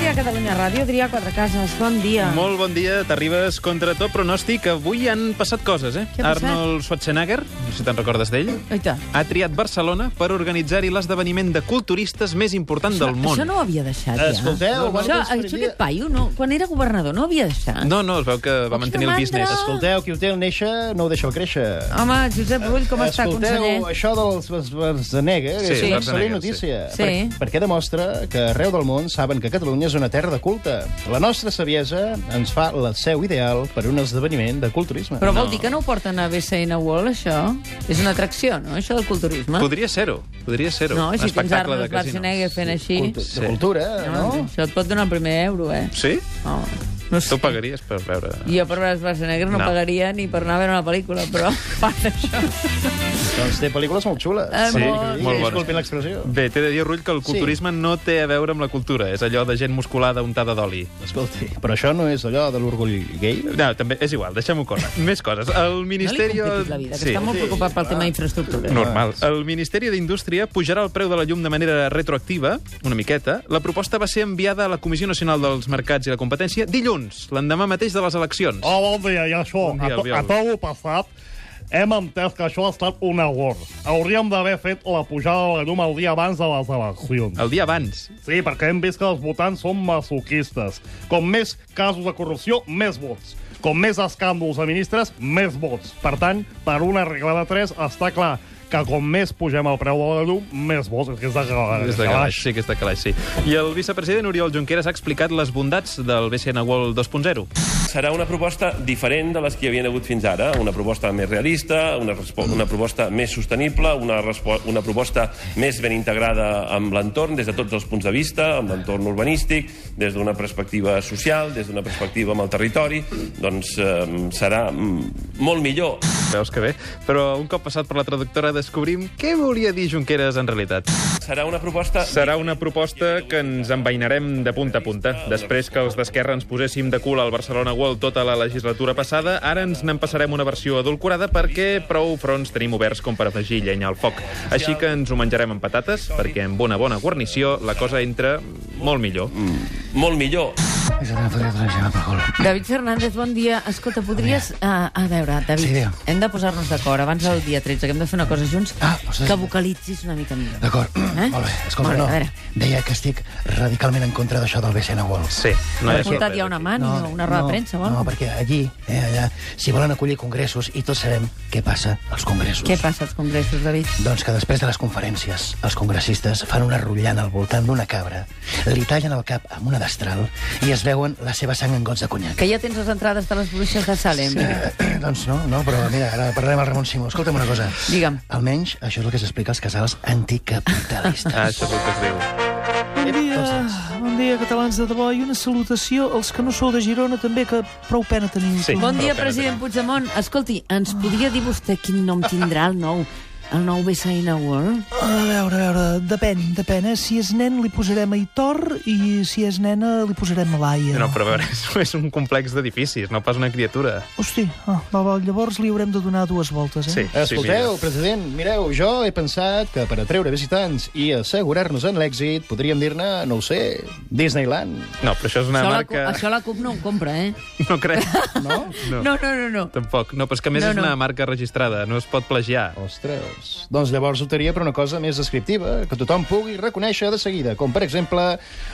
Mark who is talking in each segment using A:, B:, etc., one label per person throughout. A: dia, Catalunya Ràdio, Adrià Quatrecases. Bon dia.
B: Molt bon dia, t'arribes contra tot pronòstic. Avui han passat coses, eh?
A: Què ha passat?
B: Arnold Schwarzenegger, no sé si te'n recordes d'ell,
A: Oita,
B: ha triat Barcelona per organitzar-hi l'esdeveniment de culturistes més important del món.
A: això no ho havia deixat, ja.
C: Escolteu, bueno,
A: això,
C: dels primers-
A: això aquest paio, no, quan era governador, no ho havia deixat.
B: No, no, es veu que va mantenir el
A: mandra.
B: business.
C: Escolteu, qui ho té al néixer no ho deixeu créixer.
A: Home, Josep Rull, com està,
C: Escolteu,
A: conseller?
C: això dels Schwar- Schwarzenegger
B: Sí,
C: és
B: Schwarzenegger,
C: una excel·lent notícia,
A: sí. Sí.
C: Per, perquè demostra que arreu del món saben que Catalunya és una terra de culte. La nostra saviesa ens fa la seu ideal per un esdeveniment de culturisme.
D: Però vol dir que no ho porten a BCN World, això? És una atracció, no?, això del culturisme.
B: Podria ser-ho, podria ser-ho.
D: No,
B: Un
D: si tens
B: espectacle
D: Arnold
B: de casinos.
D: Schwarzenegger fent així...
C: Cultu-
B: Sí.
C: De cultura,
D: No,
C: no?
D: Això et pot donar el primer euro, eh?
B: Sí?
D: No, no
B: Tu
D: sé.
B: pagaries per veure...
D: Jo per veure Schwarzenegger no,
B: No.
D: no pagaria ni per anar a veure una pel·lícula, però a part d'això...
C: Doncs té pel·lícules molt xules.
D: Eh, Sí, molt-
B: molt bones.
C: Disculpin l'expressió.
B: Bé, t'he de dir, Rull, que el culturisme sí. no té a veure amb la cultura. És allò de gent musculada untada d'oli.
C: Escolti, però això no és allò de l'orgull gai?
B: No, també és igual, deixem-ho córrer. Més coses. El
D: No li
B: Ministeri...
D: compliquis la vida, que
B: sí. Ah.
D: està molt preocupat pel tema d'infraestructures.
B: Normal. El Ministeri d'Indústria pujarà el preu de la llum de manera retroactiva, una miqueta. La proposta va ser enviada a la Comissió Nacional dels Mercats i la Competència dilluns, l'endemà mateix de les eleccions.
E: Oh, bon dia, ja això.
B: Bon dia,
E: a, to,
B: Oriol.
E: a tot el passat hem entès que això ha estat un error. Hauríem d'haver fet la pujada de la llum el dia abans de les eleccions.
B: El dia abans.
E: Sí, perquè hem vist que els votants són masoquistes. Com més casos de corrupció, més vots. Com més escàndols de ministres, més vots. Per tant, per una regla de 3, està clar que com més pugem el preu de la llum, més vots. És que és de calaix.
B: Des de calaix, sí, que és de calaix, sí. I el vicepresident Oriol Junqueras ha explicat les bondats del BCN World 2.0.
F: Serà una proposta diferent de les que hi havia hagut fins ara, una proposta més realista, una, respo- una proposta més sostenible, una, respo- una proposta més ben integrada amb l'entorn, des de tots els punts de vista, amb l'entorn urbanístic, des d'una perspectiva social, des d'una perspectiva amb el territori, doncs eh, serà mm, molt millor.
B: Veus que bé? Però un cop passat per la traductora descobrim què volia dir Junqueras en realitat.
F: Serà una proposta...
B: Serà una proposta que ens envainarem de punta a punta. Després que els d'Esquerra ens poséssim de cul al Barcelona World tota la legislatura passada, ara ens n'empassarem una versió edulcorada perquè prou fronts tenim oberts com per afegir llenya al foc. Així que ens ho menjarem amb patates, perquè amb una bona guarnició la cosa entra molt millor.
F: Molt millor.
D: David Fernández, bon dia. Escolta, podries... A, a veure, David,
G: Sí, digue'm.
D: hem de posar-nos d'acord abans del dia 13, que hem de fer una cosa junts,
G: Ah, doncs
D: que
G: sí.
D: vocalitzis una mica millor.
G: D'acord,
D: Eh?
G: molt bé. Escolta,
D: Molt bé, a veure.
G: no, deia que estic radicalment en contra d'això del BCN World.
B: Sí, no hi
D: He
B: ha
D: portat ja
B: sorpresa.
D: una mà, Ah, no, una roda
G: no,
D: de premsa,
G: No,
D: vol?
G: perquè allí, eh, allà, si volen acollir congressos, i tots sabem què passa als congressos.
D: Què passa als congressos, David?
G: Doncs que després de les conferències, els congressistes fan una rotllana al voltant d'una cabra, li tallen el cap amb una destral i es veuen la seva sang en gots de conyac.
D: Que ja tens les entrades de les bruixes de Salem.
G: Eh, doncs no, no, però mira, ara parlarem al Ramon Simó. Escolta'm una cosa.
D: Digue'm.
G: Almenys això és el que s'explica als casals anticapitalistes.
B: Ah, això és el que es diu.
H: Bon dia, bon dia, catalans de debò, i una salutació als que no sou de Girona, també, que prou pena teniu.
B: Sí.
D: Bon dia,
B: Però que no
D: president Puigdemont. Escolti, ens podria dir vostè quin nom tindrà el nou el nou BCN World?
H: A veure, a veure, depèn, depèn, eh? Si és nen li posarem Aitor i si és nena li posarem Laia.
B: No, però a veure, és- és un complex d'edificis, no pas una criatura.
H: Hosti, ah, va, va, llavors li haurem de donar dues voltes, eh?
B: Sí, sí,
C: Escolteu,
B: mira.
C: president, mireu, jo he pensat que per atreure visitants i assegurar-nos en l'èxit podríem dir-ne, no ho sé, Disneyland.
B: No, però això és una
D: Això la, Cu-
B: marca...
D: això la CUP no ho compra, eh?
B: No crec. No? No.
D: No, no, no, no.
B: Tampoc. No, però és que a més
D: No,
B: és
D: no.
B: una marca registrada, no es pot plagiar.
C: Ostres. Doncs llavors optaria per una cosa més descriptiva, que tothom pugui reconèixer de seguida, com per exemple,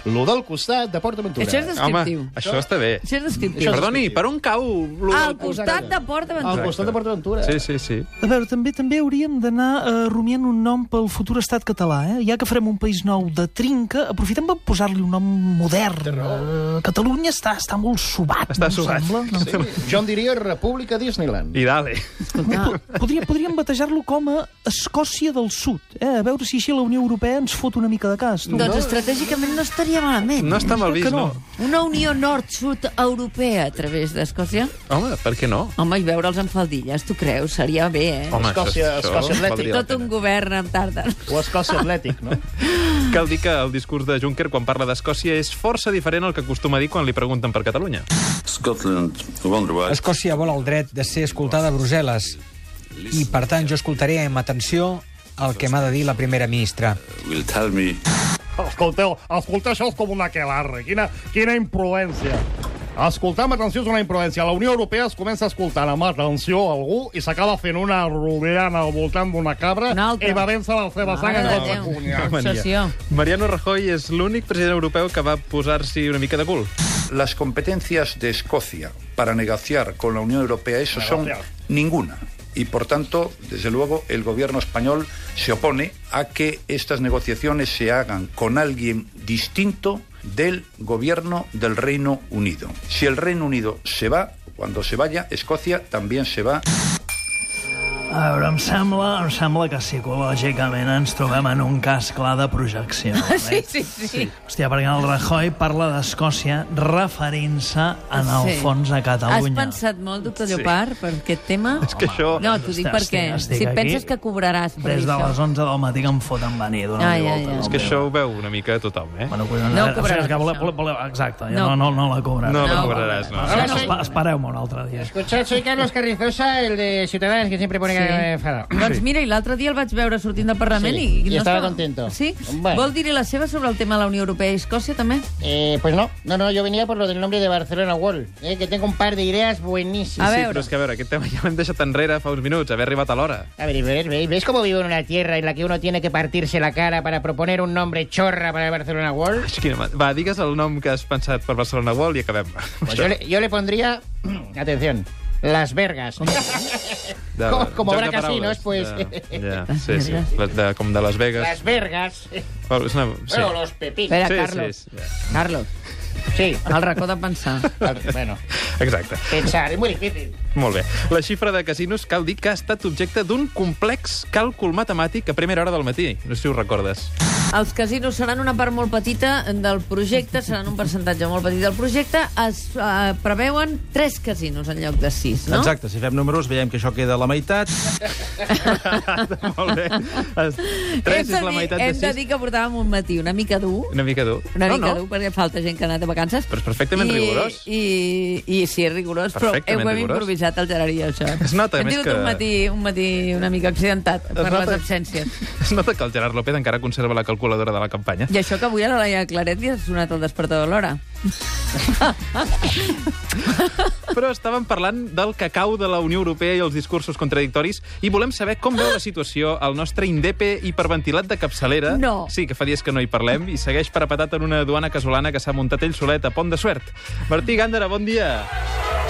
C: lo del costat de Port Aventura.
D: Això és
B: Home,
D: descriptiu.
B: això està bé.
D: Això és descriptiu.
B: Perdoni, per on cau? lo
D: Al
B: del
D: costat de Port
C: Al
D: Aventura.
C: costat de Port Aventura.
B: Sí, sí, sí.
H: A veure, també també hauríem d'anar eh, rumiant un nom pel futur estat català, eh? Ja que farem un país nou de trinca, aprofitem per posar-li un nom modern. Eh, Catalunya està, està molt sobat,
B: Està
H: no em
B: sobat.
H: sembla? No?
C: Sí, Jo en diria República Disneyland.
B: I dale.
D: Escolta,
H: Podria, podríem batejar-lo com a Escòcia del Sud, eh? a veure si així la Unió Europea ens fot una mica de cas. Tu.
D: doncs estratègicament no estaria malament.
B: No està mal vist,
H: que
B: no.
H: no.
D: Una unió nord-sud europea a través d'Escòcia?
B: Home, per què no?
D: Home, i veure'ls en faldilles, tu creus? Seria bé, eh?
B: Home,
C: Escòcia- Escòcia Atlètic.
B: valdria la
D: Tot un
B: pena.
D: govern amb tarda.
C: O Escòcia Atlètic, no?
B: Cal dir que el discurs de Juncker quan parla d'Escòcia és força diferent al que acostuma a dir quan li pregunten per Catalunya.
I: Scotland, Wonder Why.
J: Escòcia vol el dret de ser escoltada a Brussel·les i, per tant, jo escoltaré amb atenció el que m'ha de dir la primera ministra.
I: will tell me.
E: Escolteu, escoltar això és com una quelarre. Quina, quina imprudència. Escoltar amb atenció és una imprudència. La Unió Europea es comença escoltant amb atenció a algú i s'acaba fent una rodellana al voltant d'una cabra
D: Una altra.
E: i va vèncer la seva sang en
D: Mare de
E: cos de
D: Déu.
E: cunyac.
D: Obsessió.
B: Mariano Rajoy és l'únic president europeu que va posar-s'hi una mica de cul.
I: Las competencias de Escocia para negociar con la Unión Europea, eso son
E: Negociar.
I: ninguna. Y por tanto, desde luego, el gobierno español se opone a que estas negociaciones se hagan con alguien distinto del gobierno del Reino Unido. Si el Reino Unido se va, cuando se vaya, Escocia también se va.
K: A veure, em sembla, em sembla que psicològicament eh? ens trobem en un cas clar de projecció.
L: Sí, sí, sí.
K: Hòstia, perquè el Rajoy parla d'Escòcia referint-se en el
D: Sí.
K: fons a
D: Has
K: Catalunya.
D: pensat molt, doctor
K: Sí.
D: Llopart, per aquest tema? És
B: que això-
D: No, t'ho dic
K: Estic-
D: perquè
K: estic- estic
D: si
K: aquí.
D: penses que cobraràs per
K: Des de
D: això...
K: les 11 del matí que em foten venir d'una
D: Ai,
K: volta.
D: ai, ai.
B: És que això ho veu una mica tothom, eh?
K: Bueno,
D: No
K: o sigui,
D: cobraràs,
K: és que voleu, voleu, voleu, exacte,
B: No.
K: no, no, no la cobraràs.
B: No la No. cobraràs, no.
K: Espa- espa- Espereu-me un altre dia.
G: Escuchad, soy Carlos Carrizosa, el de Ciudadanos, que siempre pone cara enfadado.
D: Doncs mira, i l'altre dia el vaig veure sortint del Parlament
G: Sí,
D: i...
G: i estava contento.
D: Sí?
G: Bueno.
D: Vol dir-hi la seva sobre el tema de la Unió Europea i Escòcia, també?
G: Eh, pues no, no, no, yo venía por lo del nombre de Barcelona Wall, eh, que tengo un par de ideas buenísimas.
B: sí, però és que a veure, aquest tema ja l'hem deixat enrere fa uns minuts, haver arribat a l'hora.
G: A ver, ¿veis, veis, veis cómo vivo en una tierra en la que uno tiene que partirse la cara para proponer un nombre chorra para el Barcelona World?
B: És quina ma- Va, digues el nom que has pensat per Barcelona World i acabem.
G: Pues yo, le, yo le pondría, atención, Las Vergas.
B: De-
G: com- com
B: joc
G: obra
B: de paraules.
G: casinos, pues.
B: De, ja, sí, sí. La- De, com de Las Vegas.
G: Las Vergas.
B: Però és una... Sí.
G: Bueno, los pepinos.
D: Espera,
B: Sí,
D: Carlos.
B: sí, sí.
D: Carlos.
G: Sí.
D: El racó de pensar.
G: bueno.
B: Exacte.
G: Pensar, es muy difícil.
B: Molt bé. La xifra de casinos cal dir que ha estat objecte d'un complex càlcul matemàtic a primera hora del matí. No sé si ho recordes.
D: Els casinos seran una part molt petita del projecte, seran un percentatge molt petit del projecte. Es eh, preveuen tres casinos en lloc de sis, no?
M: Exacte, si fem números veiem que això queda a la meitat.
B: Molt bé. Es- Tres és
D: hem de
B: la
D: dir,
B: meitat de
D: Hem de
B: sis.
D: dir que portàvem un matí una mica dur,
B: Una mica dur.
D: una
B: no,
D: mica
B: no.
D: dur, perquè falta gent que ha anat de vacances.
B: Però és perfectament
D: I,
B: rigorós.
D: I, i, sí, és rigorós, però ho
B: Perfectament
D: hem
B: rigorós.
D: improvisat al Gerard i jo, això.
B: Es nota,
D: hem
B: més
D: tingut
B: que-
D: un matí, un matí una mica accidentat per
B: nota-
D: les absències.
B: Es nota que el Gerard López encara conserva la calculadora de la campanya.
D: I això que avui a la Laia Claret li ha sonat el despertador a l'hora.
B: Però estàvem parlant del cacau de la Unió Europea i els discursos contradictoris i volem saber com veu la situació el nostre indepe hiperventilat de capçalera.
D: No.
B: Sí, que fa dies que no hi parlem i segueix parapetat en una duana casolana que s'ha muntat ell solet a Pont de Suert. Martí Gàndara, bon dia.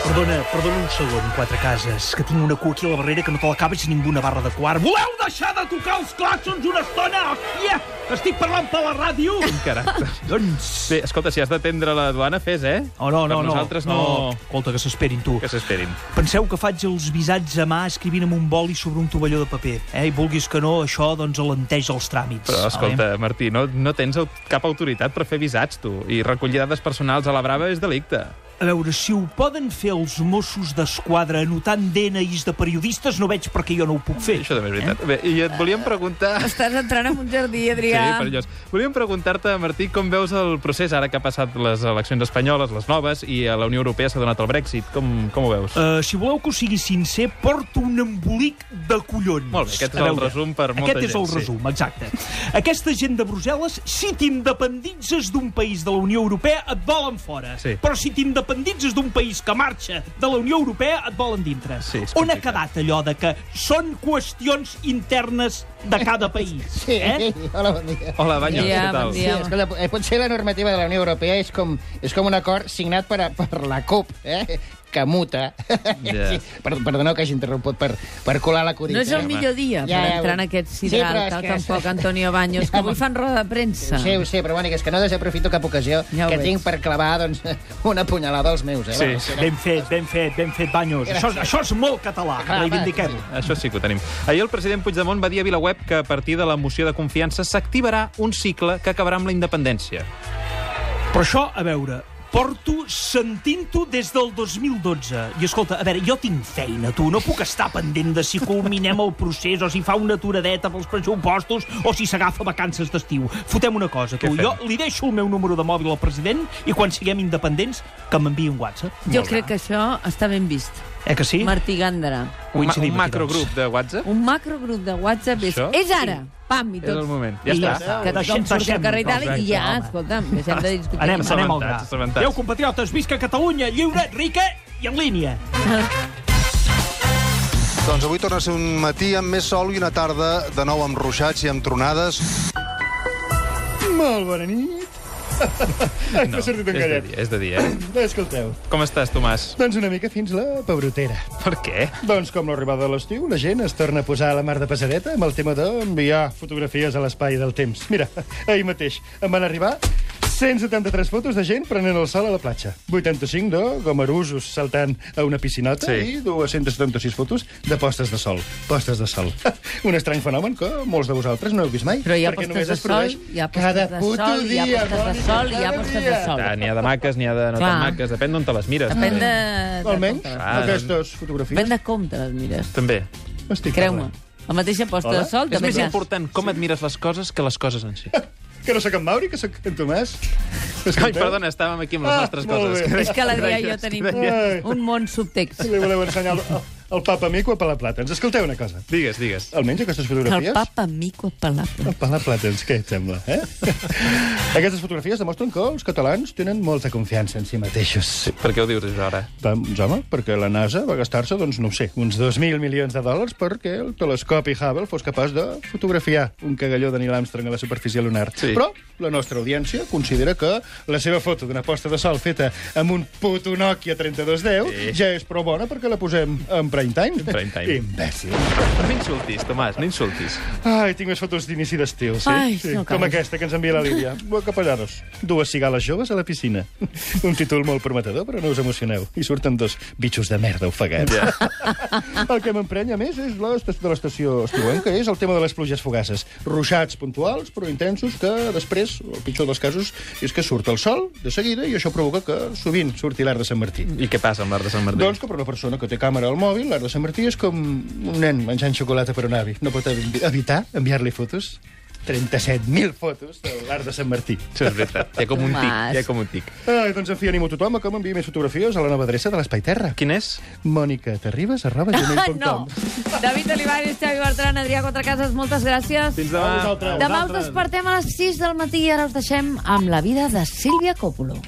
H: Perdona, perdona un segon, quatre cases, que tinc una cua aquí a la barrera que no te la cabes ni amb una barra de quart. Voleu deixar de tocar els clàxons una estona? Hòstia, estic parlant per la ràdio!
B: Caràcter. doncs... Bé, escolta, si has d'atendre la duana, fes, eh?
H: Oh, no, no,
B: per
H: no.
B: nosaltres no...
H: No, Escolta, que s'esperin, tu.
B: Que s'esperin.
H: Penseu que faig els visats a mà escrivint amb un boli sobre un tovalló de paper, eh? I vulguis que no, això, doncs, alenteix els tràmits.
B: Però, escolta, Martí, no, no tens au- cap autoritat per fer visats, tu. I recollir dades personals a la brava és delicte.
H: A veure, si ho poden fer els Mossos d'Esquadra anotant DNIs de periodistes, no veig per què jo no ho puc fer.
B: Això també és veritat. Bé, i et volíem preguntar...
D: Estàs entrant en un jardí,
B: Sí,
D: Adrià.
B: perillós. Volíem preguntar-te, Martí, com veus el procés ara que ha passat les eleccions espanyoles, les noves, i a la Unió Europea s'ha donat el Brexit. Com, com ho veus?
H: Uh, si voleu que ho sigui sincer, porto un embolic de collons.
B: Molt bé, aquest és
H: A
B: el resum per molta
H: Aquest és
B: gent,
H: el
B: sí.
H: resum, exacte. Aquesta gent de Brussel·les, si t'independitzes d'un país de la Unió Europea, et volen fora.
B: Sí.
H: Però si t'independitzes d'un país que marxa de la Unió Europea, et volen dintre.
B: Sí, és
H: On ha quedat allò de que són qüestions internes de cada país?
G: Sí,
H: eh?
G: hola, bon dia.
B: Hola, Banyos,
G: Bon dia,
B: què tal?
G: bon dia. Sí, escolta, eh, potser la normativa de la Unió Europea és com, és com un acord signat per, a, per la CUP, eh? que muta.
D: Ja.
G: Sí, per, perdoneu que hagi interromput per, per colar la curita.
D: No és el millor dia ja, per entrar en aquest sidral, sí,
G: però és
D: tal,
G: que-
D: tampoc, Antonio Baños, que avui fan roda de premsa.
G: Ho sé, ho sé, però bueno, que és que no desaprofito cap ocasió
D: Ja ho
G: que
D: veig.
G: tinc per clavar doncs, una punyalada als meus. Eh? Bueno, serà-
H: Ben fet, ben fet, ben fet, Banyos. Això, és- això és molt català, reivindiquem-ho.
B: Això sí que ho tenim. Ahir el president Puigdemont va dir a VilaWeb que a partir de la moció de confiança s'activarà un cicle que acabarà amb la independència.
H: Però això, a veure, porto sentint-ho des del 2012. I escolta, a veure, jo tinc feina, tu. No puc estar pendent de si culminem el procés o si fa una aturadeta pels pressupostos o si s'agafa vacances d'estiu. Fotem una cosa, tu. Jo li deixo el meu número de mòbil al president i quan siguem independents que m'enviï un WhatsApp.
D: Jo crec que això està ben vist.
H: Eh que sí?
D: Martí Gandra.
B: Un, ma un macrogrup de WhatsApp?
D: Un macrogrup de WhatsApp és,
B: Això?
D: és ara. Pam, i
B: És
D: tots.
B: el moment. Ja
D: I
B: està.
D: Que tothom
H: Deixem-
D: surti al carrer i tal, i
B: Exacte,
D: ja,
B: home.
D: escolta'm, deixem de discutir.
H: Anem, anem al gra.
B: Assabentats, assabentats.
H: Adéu, compatriotes, visca Catalunya, lliure, rica i en línia.
N: Doncs avui torna a ser un matí amb més sol i una tarda de nou amb ruixats i amb tronades.
C: Molt bona nit. Ai, m'he sortit
B: és de
C: encallat.
B: dia, és de dia, eh?
C: No, escolteu.
B: Com estàs, Tomàs?
C: Doncs una mica fins la pebrotera.
B: Per què?
C: Doncs com l'arribada de l'estiu, la gent es torna a posar a la mar de passadeta amb el tema d'enviar fotografies a l'espai del temps. Mira, ahir mateix em van arribar 173 fotos de gent prenent el sol a la platja, 85 de gomarusos saltant a una piscinota
B: Sí.
C: sí. i 276 fotos de postes de sol. Postes de sol. Un estrany fenomen que molts de vosaltres no heu vist mai.
D: Però hi ha
C: perquè
D: postes
C: només
D: de
C: es produeix
D: sol, hi ha postes
C: cada
D: de
C: puto
D: sol, hi ha
C: dia,
D: postes de
C: Mònica,
D: sol, hi ha
C: cada
D: postes de
C: dia.
D: sol.
B: Ah, N'hi ha de maques, n'hi ha de no
D: Clar.
B: tan maques. Depèn d'on te les mires.
D: Depèn de... de
C: Almenys
D: com te les-
B: Ah,
C: aquestes fotografies.
D: Depèn de com te les mires.
B: També.
C: Estic
D: Creu-me.
C: parlant.
D: La mateixa posta
C: Hola?
D: de sol...
B: És
D: també
B: més
D: hi ha-
B: important com et mires les coses que les coses en si.
C: Que no sóc en Mauri, que sóc en Tomàs.
B: Ai, perdona, estàvem aquí amb les
C: Ah,
B: nostres
C: molt
B: coses.
C: bé.
B: Que
D: És que l'Adrià i jo
B: deies, que
D: tenim
B: deies.
D: un món subtext.
C: Li voleu ensenyar el, el papa mico a Palaplata. Ens escolteu una cosa.
B: Digues, digues.
C: Almenys aquestes
D: El
C: fotografies...
D: papa mico palapa.
C: El Palaplatenc, què et sembla? Eh? Aquestes fotografies demostren que els catalans tenen molta confiança en si mateixos.
B: Per què ho dius, això, ara?
C: Doncs, home, perquè la NASA va gastar-se, doncs, no ho sé, uns 2.000 milions de dòlars perquè el telescopi Hubble fos capaç de fotografiar un cagalló de Neil Armstrong a la superfície lunar.
B: Sí.
C: Però la nostra audiència considera que la seva foto d'una posta de sol feta amb un puto Nokia 3210
B: Sí.
C: sí. ja és prou bona perquè la posem en prime time.
B: prime time.
C: Imbècil.
B: No m'insultis, Tomàs, no insultis.
C: Ai, tinc les fotos d'inici d'estiu, sí?
D: Ai,
C: sí.
D: no cal.
C: Com aquesta que ens envia la Lídia. Capellaros. Dues cigales joves a la piscina. Un títol molt prometedor, però no us emocioneu. I surten dos bitxos de merda ofegats.
B: Ja.
C: El que m'emprenya més és l'estació de l'estació estiuenca, és el tema de les pluges fugaces. Ruixats puntuals, però intensos, que després, el pitjor dels casos, és que surt el sol de seguida i això provoca que sovint surti l'art de Sant Martí.
B: I què passa amb l'art de Sant Martí?
C: Doncs que per una persona que té càmera al mòbil, l'art de Sant Martí és com un nen menjant xocolata per un avi. No pot evi- evitar enviar-li fotos. 37.000 fotos de l'art de Sant Martí.
B: Això és veritat. Hi ha com un tic,
D: Tomàs.
B: hi ha com un tic.
C: Ai, doncs en fi, animo tothom a que m'enviï més fotografies a la nova adreça de l'Espai Terra.
B: Quin és?
C: Mònica Terribas, arroba
D: Ah,
C: gmail.com.
D: no. David Olivares, Xavi Bertran, Adrià Quatrecases, moltes gràcies.
B: Fins demà.
D: Demà us despertem a les 6 del matí i ara us deixem amb la vida de Sílvia Coppolo.